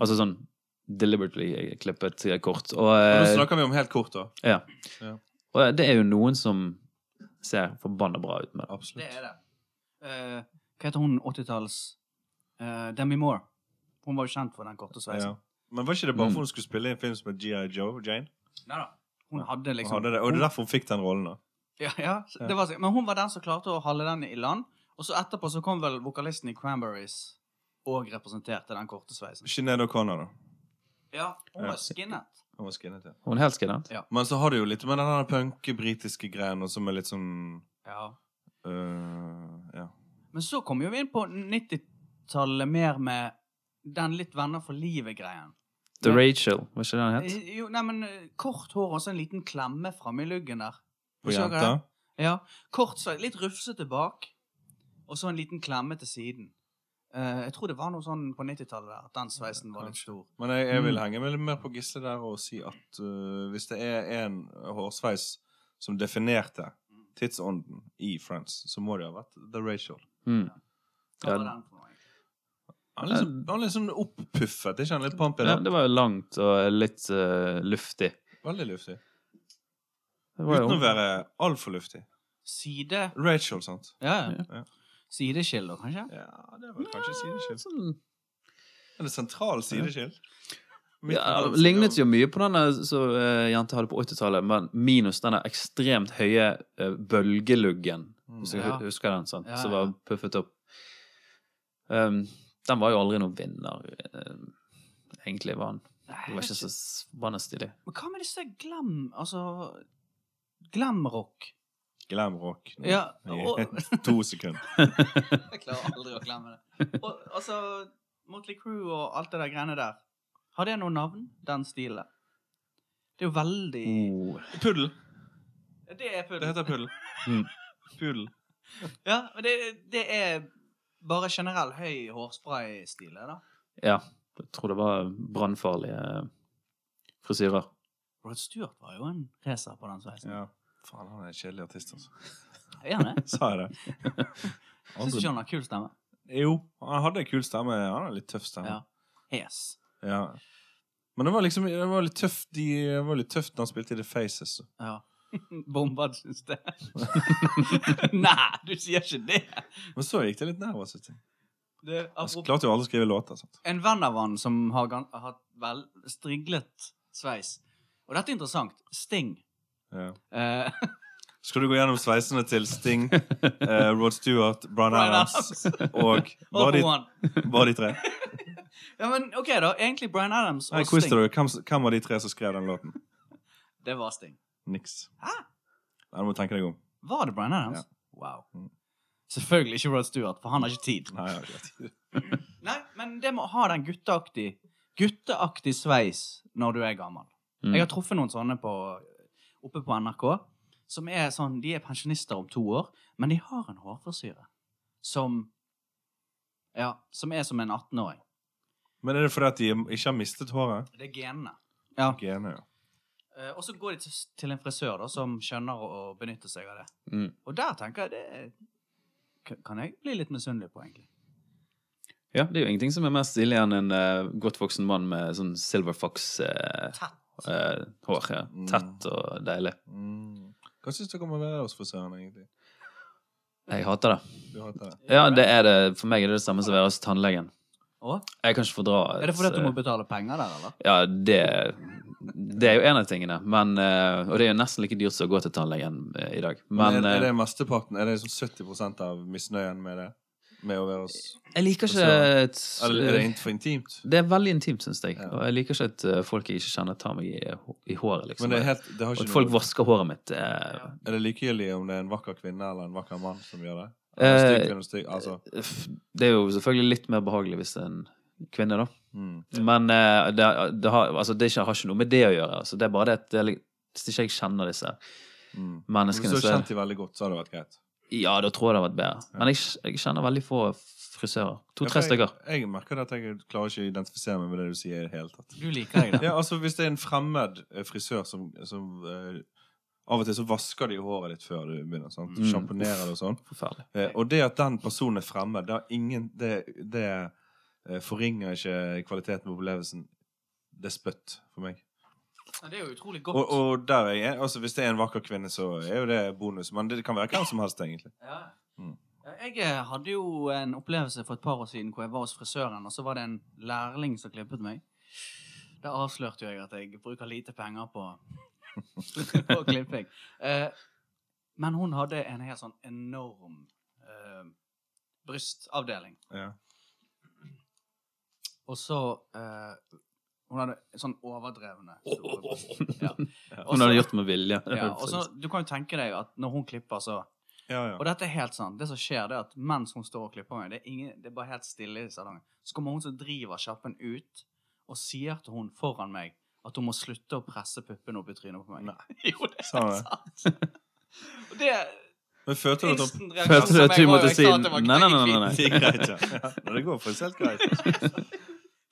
Altså sånn deliberately eh, klippet eh, kort. Og, Og Nå eh, snakker vi om helt kort, da. ja. Ja. og eh, det er jo noen som ser forbanna bra ut med det. Det Absolutt. er det. Eh, hva heter hun 80-talls eh, Demi Moore? Hun var jo kjent for den korte sveisen. Ja. Men var ikke det bare Mm. for hun skulle spille i en film som het G.I. Joe? Jane? Neida. Hun hadde Og, liksom hadde det. og det er derfor hun fikk den rollen, da. Ja, ja. så Det var, sikkert- men hun var den som klarte å holde den i land. Og så etterpå så kom vel vokalisten i Cranberries og representerte den korte sveisen. Sinead O'Connor, da. Ja, hun Ja. var skinnet. Hun var skinnet, ja. Hun er helt skinnet. Men så har du jo litt med den der punk-britiske greien, og som er litt sånn Ja. øh, Ja. Men så kom jo vi inn på 90-tallet mer med den litt venner for livet-greien. The Rachel, var ikke det den het? Eh, Jo, nei, men eh, kort hår og så en liten klemme framme i luggen der. På Husker dere jenta. det? Ja. Kort sveis, litt rufsete bak, og så en liten klemme til siden. Eh, jeg tror det var noe sånn på 90-tallet der, at den sveisen var litt Kanskje. stor. Men jeg, jeg vil Mm. henge meg litt mer på Gisle der og si at øh, hvis det er en hårsveis som definerte tidsånden i Friends, så må det ha vært The Rachel. Mm. Hva var Ja. den for noe? Han er liksom, han er liksom opppuffet, ikke han? Litt pampig, Ja, da. det var jo langt og litt eh, luftig. Veldig luftig. Det var jo- Uten å være altfor luftig. Side Rachel, sant? Ja, Ja. ja. Sideskiller, kanskje? Ja, det var kanskje sideskilt. sånn, Eller sentral sideskilt. ja, lignet jo mye på denne som eh, jenter hadde på 80-tallet, men minus denne ekstremt høye eh, bølgeluggen. Mm. Hvis du Ja. husker den, sant? Ja, som var ja. puffet opp. Um, den var jo aldri noen vinner. Um, egentlig var den Det var ikke så vanlig stilig. Men hva med disse glam... Altså Glamrock. Glam rock. Nå. Ja, I og to sekunder. Jeg klarer aldri å glemme det. Og, altså Motley Crew og alt det der greiene der. Har det noe navn, den stilen? Det er jo veldig Oh. Puddel. Det er Det heter puddel. Hmm. Mm. Puddel. Ja, men det, det er bare generell høy hårspray-stil, det da. Ja. Jeg tror det var brannfarlige eh, frisyrer. Rod Stewart var jo en racer på den sveisen. Ja. Faen, han er en kjedelig artist, altså. Er han det? Sa jeg det? Syns Andre- ikke han har kul stemme. Jo, han hadde en kul stemme. Han hadde litt tøff stemme. Ja. Hes. Ja. Men det var liksom det var litt tøft de, det var litt tøft når han spilte i The Faces. så. Ja. Bombad, syns det. Nei, du sier ikke det! Men så gikk det litt nedover. synes jeg. det Han apropos, klarte jo aldri å skrive låter. sant? en venn av han som har gan- har hatt vel striglet sveis. Og dette er interessant. Sting. Ja. Eh, Skal du gå gjennom sveisene til Sting, eh, Rod Stewart, Brian Bryan Adams Adams. og og Bare de, Rowan. bare de tre? Ja, men OK, da. Egentlig Bryan Adams og Nei, quiz Sting. dere. Hvem, hvem var de tre som skrev den låten? Det var Sting. Niks. Hæ? Nei, du må tenke deg om. Var det Bryan Adams? Ja. Wow. Mm. Selvfølgelig ikke Rod Stewart, for han har ikke tid. Nei, jeg har ikke tid. Nei, men det må ha den gutteaktig Gutteaktig sveis når du er gammel. Mm. Jeg har truffet noen sånne på, oppe på NRK. Som er sånn, De er pensjonister om to år, men de har en hårfrisyre som Ja, som er som en 18-åring. Men er det fordi at de ikke har mistet håret? Det er genene. Ja. Gene, ja. Eh, og så går de til, til en frisør da, som skjønner å, å benytte seg av det. Mm. Og der tenker jeg det er- k- kan jeg bli litt misunnelig på, egentlig. Ja, det er jo ingenting som er mer stilig enn en eh, godt voksen mann med sånn silver fox-hår. Tett. ja. Mm. Tett og deilig. Mm. Hva syns dere om å være hos frisøren, egentlig? Jeg hater det. Du hater det. Ja, det er det. For meg er det det samme som å være hos tannlegen. Og? Jeg kan ikke fordra Er det fordi at du så- må betale penger der, eller? Ja, det Det er jo en av tingene, men, eh, og det er jo nesten like dyrt som å gå til tannlegen eh, i dag. Men, Men er, er eh, det mesteparten? Er det sånn 70 av misnøyen med det? Med å være hos jeg liker ikke så- et, Altså, Er det, er det int- for intimt? Det er veldig intimt, syns jeg. Ja. Og jeg liker ikke at eh, folk jeg ikke kjenner, tar meg i, i håret. liksom. Men det er helt det har Og at ikke folk noe, vasker håret mitt. eh, Er det likegyldig om det er en vakker kvinne eller en vakker mann som gjør det? Eh, Eller stygg kvinne, stygg Altså f- Det er jo selvfølgelig litt mer behagelig hvis det er en kvinne, da. mm. Men eh, det, det, har, altså, det ikke, har ikke noe med det å gjøre. Altså. Det er bare det at det er, litt- hvis ikke jeg kjenner disse Mm. Hvis du menneskene, hadde så kjent dem veldig godt, så hadde det vært greit. Ja, da tror jeg det hadde vært bedre. Men jeg, jeg kjenner veldig få frisører. Ja, for To-tre stykker. Jeg, jeg merker det at jeg klarer ikke å identifisere meg med det du sier i det hele tatt. Du liker deg, da. Ja, altså Hvis det er en fremmed eh, frisør som, som eh, Av og til så vasker de håret litt før du begynner. sant? Mm. Sjamponerer det og sånn. Forferdelig. Eh, og det at den personen er fremmed, det, har ingen, det, det eh, forringer ikke kvaliteten på opplevelsen. Det er spytt for meg. Ja, Det er jo utrolig Og, godt. og der er jeg, altså Hvis det er en vakker kvinne, så er jo det bonus. Men det kan være hvem som helst, egentlig. Ja. Mm. Ja, Jeg eh, hadde jo en opplevelse for et par år siden hvor jeg var hos frisøren, og så var det en lærling som klippet meg. Da avslørte jo jeg at jeg bruker lite penger på, på klipping. Eh, men hun hadde en helt sånn enorm eh, brystavdeling. Ja. Og så eh, Hun hadde sånn overdrevne store bryst. Ja. Og Hun så- hadde altså- gjort det med vilje. ja, og så, du kan jo tenke deg at når hun klipper, så Ja, Og ja. dette er helt sant. Det som skjer, det er at mens hun står og klipper meg, det er, ingen, det er bare helt stille i salongen, så kommer hun som driver sjappen ut og sier til hun foran meg at hun må slutte å presse puppene opp i trynet på meg. jo, det er Sa hun det? sant. Og det er Men følte du at hun instant reaksjon Følte du at som jeg du var, og måtte jeg si sa nei, at det var nei, nei, nei, greit. Det gikk greit, ja. Men det går faktisk helt greit.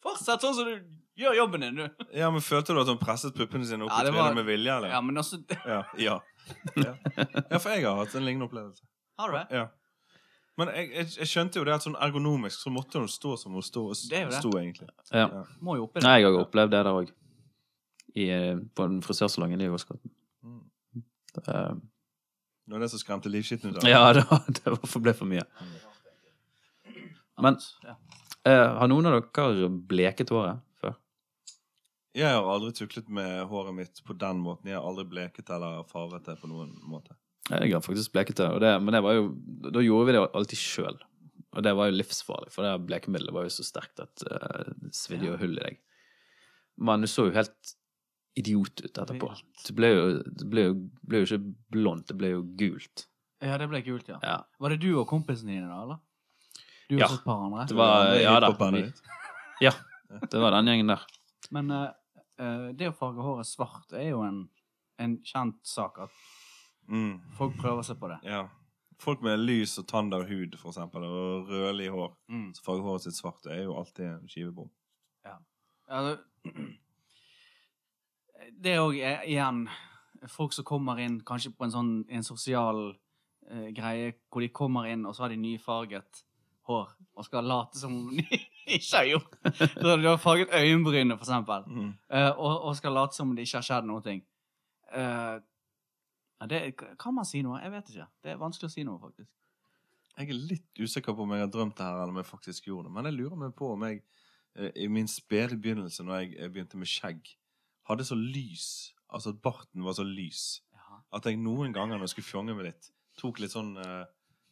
Fortsett sånn som du gjør jobben din, du. Ja, men Følte du at hun presset puppene sine opp Ja, i det trynet var- med vilje? eller? Ja, men altså Ja. Ja. ja. ja, for jeg har hatt en lignende opplevelse. Har du det? Ja. Men jeg, jeg, jeg skjønte jo det at sånn ergonomisk så måtte hun stå som hun stå, Det er jo det. sto, egentlig. Ja. Må jo oppi Nei, jeg har opplevd det der òg. På den frisørsalongen i Åsgården. Mm. Eh, Det var det som skremte livskitten ut av Ja, det, var, det var- ble for mye. Men- ja. Eh, har noen av dere bleket håret før? Jeg har aldri tuklet med håret mitt på den måten. Jeg har aldri bleket eller farvet det på noen måte. Jeg har faktisk bleket det, og det men det var jo, da gjorde vi det alltid sjøl. Og det var jo livsfarlig, for det her blekemiddelet var jo så sterkt at eh, det svidde jo hull i deg. Men du så jo helt idiot ut etterpå. Vilt. Det ble jo, det ble jo, ble jo ikke blondt, det ble jo gult. ja, det ble kult, ja. Ja. Var det du og kompisen dine, da, eller? Du og Ja. så et par andre? Det var, Det ja da, hiphop-bandet ditt. ja, det var den gjengen der. Men eh, eh, det å farge håret svart er jo en, en kjent sak at Mm, folk prøver seg på det. ja. Folk med lys og tann av hud, for eksempel, og rødlig hår, Mm. så farger håret sitt svart, det er jo alltid en skivebom. Altså, det er òg igjen folk som kommer inn kanskje på en sånn en sosial eh, greie hvor de kommer inn, og så har de nyfarget hår og skal late som om de ikke har gjort Så De har farget øyenbrynene, for eksempel. Mm. Eh, og, og skal late som om det ikke har skjedd noen ting. Eh, ja, det, kan man si noe? Jeg vet ikke. Det er vanskelig å si noe, faktisk. Jeg er litt usikker på om jeg har drømt det her, eller om jeg faktisk gjorde det. Men jeg lurer meg på om jeg eh, i min spede begynnelse, når jeg eh, begynte med skjegg, hadde så lys Altså at barten var så lys Ja. at jeg noen ganger når jeg skulle fjonge meg litt, tok litt sånn eh,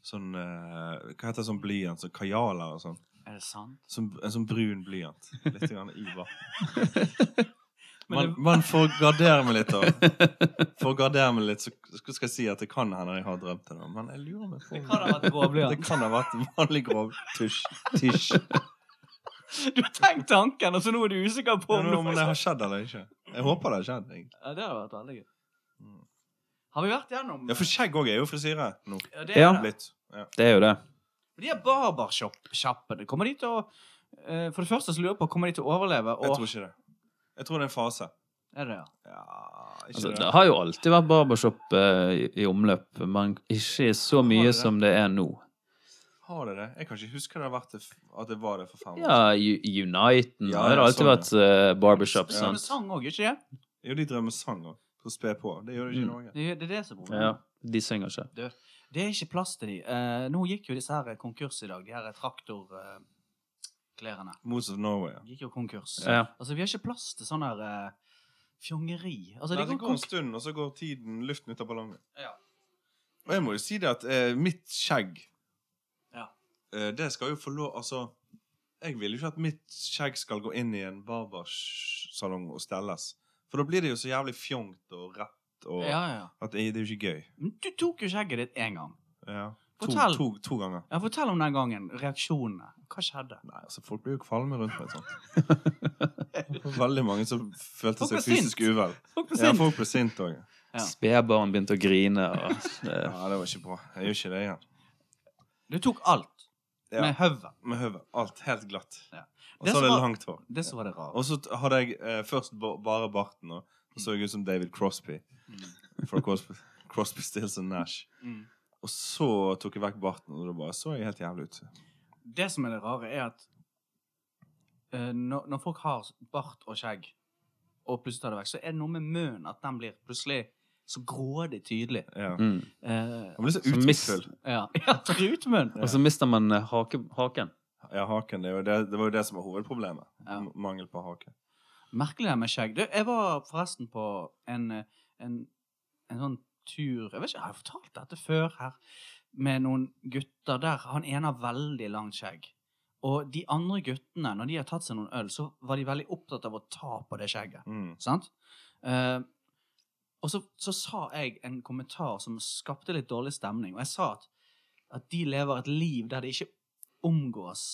Sånn eh, Hva heter det, sånn blyant? Sånn kajaler og sånn. Er det sant? Som, en sånn brun blyant. Litt grann i barten. Men Man, det- man får gardere meg litt, da. For å gardere meg litt, så skal jeg si at det kan hende jeg har drømt det. da. Men jeg lurer meg på Det kan ha vært det gråblyant. kan ha vært en vanlig grov tusj. Tisj. Du har tenkt tanken, og så nå er du usikker på Ja, om men du Om det har skjedd eller ikke. Jeg håper det har skjedd. egentlig. Ja, det hadde vært veldig gøy. Mm. Har vi vært gjennom Ja, For skjegg òg er jo frisyre nå. Ja, det er Ja. det. Litt. Ja. Det er jo det. De er barbersjappene. Kommer de til å eh, For det første så lurer jeg på kommer de til å overleve. Og, Jeg tror ikke det. Jeg tror det er en fase. Er det, ja? Ja, ikke Altså, det det. har jo alltid vært barbershop eh, i, i omløp, men ikke så mye det? som det er nå. Har det det? Jeg kan ikke huske det har vært det, f- at det var det for fem år siden. Ja, U- Uniten Ja, har det ja, alltid sånn, vært eh, barbershop, Det er med sant? sang òg, ikke det? Jo, de drømmer sang òg. For å spe på. Det gjør det ikke i Mm. Norge. Det er det er det som er problemet. Ja, de synger ikke. Det er ikke plass til de. Eh, nå gikk jo disse her konkurs i dag, de her traktorklærne. Moods of Norway. ja. gikk jo konkurs. Ja. Sånn. Altså, vi har ikke plass til sånne sånn her, eh, Fjongeri. Altså, Nei, de det går går en konk... stund, og så går tiden luften ut av ballongen. Ja. Og jeg må jo si det at eh, mitt skjegg Ja. eh, Det skal jo få lov Altså, jeg vil jo ikke at mitt skjegg skal gå inn i en barbersalong og stelles. For da blir det jo så jævlig fjongt og rett og ja, ja. At det, det er jo ikke gøy. Men du tok jo skjegget ditt én gang. Ja. To, Fortell. to, to ganger. Ja, Fortell om den gangen. Reaksjonene. Hva skjedde? Nei, altså Folk blir jo kvalme rundt med sånt. Veldig mange som følte Folk seg ble fysisk sint. uvel. Folk ble Ja, sinte. folk ble sinte òg. Ja. Spedbarn begynte å grine. Og, Ja, det var ikke bra. Jeg gjør ikke det igjen. Du tok alt. Ja. Med høvel. Med høvel. Alt helt glatt. Ja. Og Det så hadde som jeg var- langt hår. Det som var det rare. Og så t- hadde jeg eh, først ba bare barten, og så så jeg ut som David Crosby. Fra Crosby, Crosby Stills and Nash. Mm. Og så tok jeg vekk barten, og da bare så jeg helt jævlig ut. Det som er det rare, er at eh, når, når folk har bart og skjegg, og plutselig tar det vekk, så er det noe med munnen at den blir plutselig så grådig tydelig. Ja. mm. Eh, Han ble så Så mis- uttrykksfull. ja. ja, trutmunn. og så mister man eh, hake, haken. Ja, haken. Det, var det, det var jo det som var hovedproblemet. Ja. M- Mangel på hake. Merkelig det med skjegg. Du, jeg var forresten på en, eh, en, en sånn tur Jeg vet ikke, har jeg fortalt dette før her? Med noen gutter der han ene har veldig langt skjegg. Og de andre guttene, når de har tatt seg noen øl, så var de veldig opptatt av å ta på det skjegget. Mm. Sant? Eh, og så, så sa jeg en kommentar som skapte litt dårlig stemning. Og jeg sa at, at de lever et liv der de ikke omgås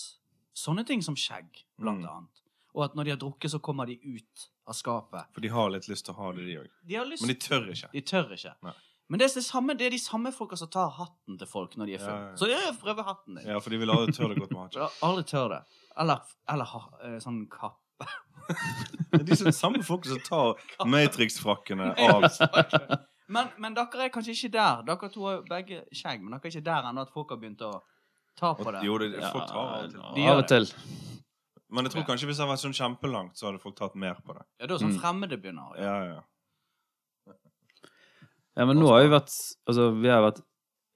sånne ting som skjegg, blant Mm. annet. Og at når de har drukket, så kommer de ut av skapet. For de har litt lyst til å ha det, de òg. De har lyst, Men de, de tør ikke. tør ikke. Nei. Men det er, det, samme, det er de samme folka som tar hatten til folk når de er Ja, fulle. ja, ja. Så jeg prøver hatten din. Ja, for de vil aldri tør det godt med hake. Jeg aldri tør det. Eller, eller ha, eh, sånn kapp. Det er De som, samme folk som tar Matrix-frakkene av Men, men dere er kanskje ikke der. Dere to har jo begge skjegg, men dere er ikke der ennå at folk har begynt å ta på det. Jo, det, Ja, folk tar av og til. De av gjør og til. Men jeg tror kanskje hvis det hadde vært sånn kjempelangt, så hadde folk tatt mer på det. Ja, da er sånn Mm. fremmede begynner. å gjøre. Ja, ja. Ja, men nå har vi vært Altså, vi har vært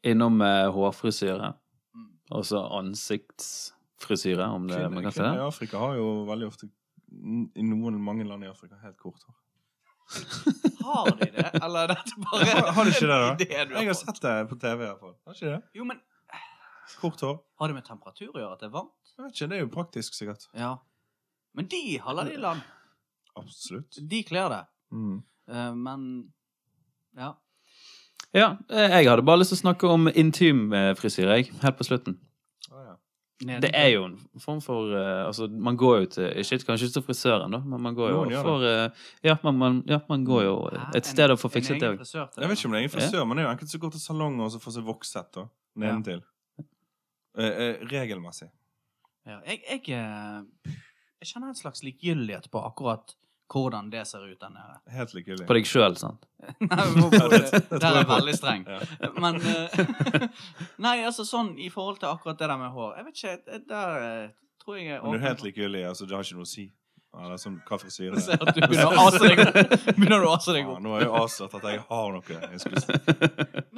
innom eh, hårfrisyre. Mm. Og så ansiktsfrisyre, om det eh, man Kvinner, kan si det. kvinner i Afrika har jo veldig ofte i noen mange land i Afrika helt kort hår. Har de det, eller er dette bare Har- har de ikke det, da? det du har Jeg har fått? sett det på TV i hvert fall. Har ikke det? Jo, men Kort hår. Har det med temperatur å gjøre at det er varmt? Jeg vet ikke, Det er jo praktisk, sikkert. Ja. Men de holder det i land. Absolutt. De kler det. Mm. Eh, men Ja. Ja, eh, jeg hadde bare lyst til å snakke om intimfrisyre, jeg. Helt på slutten. Ah, ja. Ned- Det er jo en form for eh, Altså, man går jo til ikke, Kanskje ikke til frisøren, da, men man går Noen jo gjør for eh, ja man, man, ja, man går jo eh, Hæ? et sted En- og får fikset en det egen òg. frisør til Jeg det, vet ikke om det er egen frisør, men det er jo enkelte som går til salonger og så får seg vokset da, nedentil. Eh, eh, regelmessig. da. Ja, jeg, jeg, eh, jeg kjenner en slags likegyldighet på akkurat hvordan det ser ut der nede. Helt likegyldig. På deg sjøl, sant? Nei, hvorfor det? tror Der er jeg jeg på. veldig streng. Ja. Men eh, Nei, altså sånn i forhold til akkurat det der med hår Jeg vet ikke, det- der eh, tror jeg jeg Men du er helt åpen for- likegyldig. Altså, det har ikke noe å si. Ja, det er sånn, hva frisyre Jeg det ser at du begynner å ase deg opp. Begynner du å ase er. deg Ja, opp. nå er jeg avslørt at jeg har noe jeg skulle si.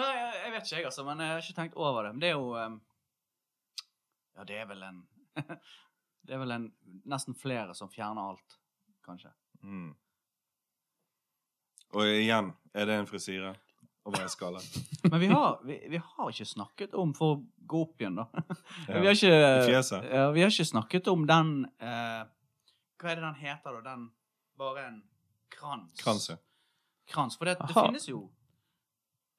Nei, jeg, jeg vet ikke, jeg, altså. Men jeg har ikke tenkt over det. Men det er jo eh, Ja, det er vel en Det er vel en nesten flere som fjerner alt, kanskje. Mm. Og igjen, er det en frisyre? Og hva er skala? Men vi har, vi, vi har ikke snakket om For å gå opp igjen, da. Vi har Ja. ikke eh, I fjeset? Ja, vi har ikke snakket om den eh, Hva er det den heter, da? Den Bare en krans. Kranse. Krans. For det, det Aha. finnes jo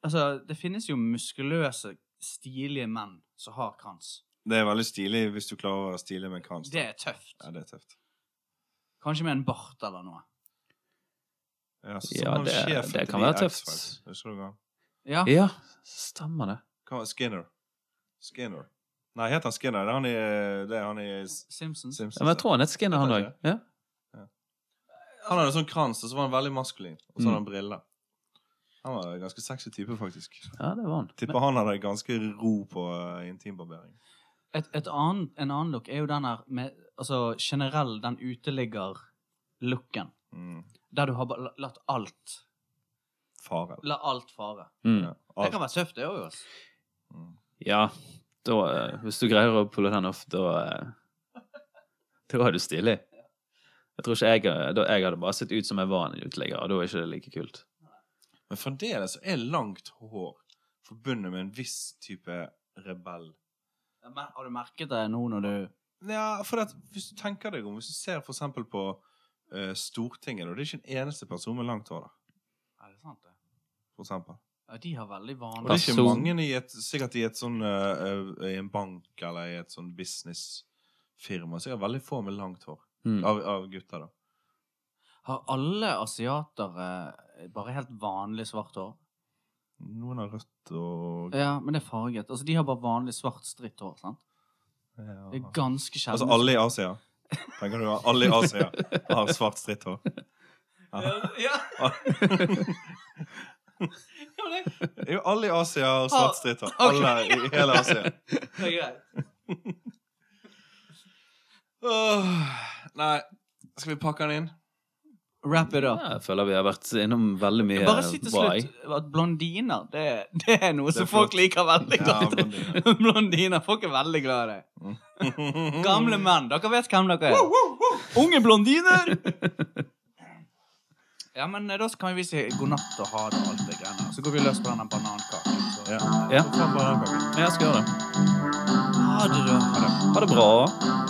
Altså, det finnes jo muskuløse, stilige menn som har krans. Det er veldig stilig hvis du klarer å være stilig med en krans. Det er tøft. Ja, det er tøft. Kanskje med en bart eller noe. Ja, så, Ja, sånn det- sjefen det til kan de være tøft. X-Files. Husker du han? Ja. Ja, stemmer det. Hva- Skinner. Skinner. Nei, heter han Skinner? Det er han i, eh, det er han i S- Simpsons. Simpsons. Ja, men jeg tror han er et skinner, han òg. Ja. Han hadde sånn krans, og så var han veldig maskulin. Og så Mm. hadde han briller. Han var en ganske sexy type, faktisk. ja, det var han. Tipper han hadde ganske ro på eh, intimbarbering. Et, et annen, en annen look er jo den her med Altså generell, den uteligger-looken. Mm. Der du har ba- la- latt alt Fare. La alt fare. Mm. Ja. Det Alt. kan være tøft, det òg. Altså. Mm. Ja, da eh, Hvis du greier å pulle den off, da eh, Da er du stilig. Jeg tror ikke jeg, da, jeg hadde bare sett ut som jeg var en uteligger, og da er ikke det like kult. Men fremdeles er langt hår forbundet med en viss type rebell. Men Har du merket det nå når du Ja, for at hvis du tenker deg om, hvis du ser for eksempel på eh, Stortinget, og det er ikke en eneste person med langt hår der, Er det sant, det? for eksempel. Ja, de har veldig Og det vanlig er ikke Person- mange i et, sikkert i et sånn eh, eh, i en bank eller i et sånn businessfirma, så er det veldig få med langt hår. Mm. Av, av gutter, da. Har alle asiatere eh, bare helt vanlig svart hår? Noen har rødt og Ja, men det er farget. Altså, De har bare vanlig svart stritt hår. sant? Eh, Ja. Det er ganske sjelden. Altså alle i Asia. Tenker du alle i Asia har svart stritt hår? Ja, ja. ja, men det Jo, alle i Asia har Ah, svart stritt hår. Alle i hele Asia. det er greit. Åh, nei, skal vi pakke den inn? Wrap it up. Ja, jeg føler vi har vært innom veldig mye Bare si til bra, jeg. slutt at blondiner, det, det er noe Det er som folk flott. liker veldig Ja, godt. blondiner. blondiner. Folk er veldig glad i det. Gamle menn. Dere vet hvem dere er. Unge blondiner! Ja, men eh, da kan vi si god natt og ha det og alt det greiene. Så går vi løs på denne banankaken. Så. Ja. Ja. Sånn bare den gangen. Ja, jeg skal gjøre det. Ha det, da. Ha det bra.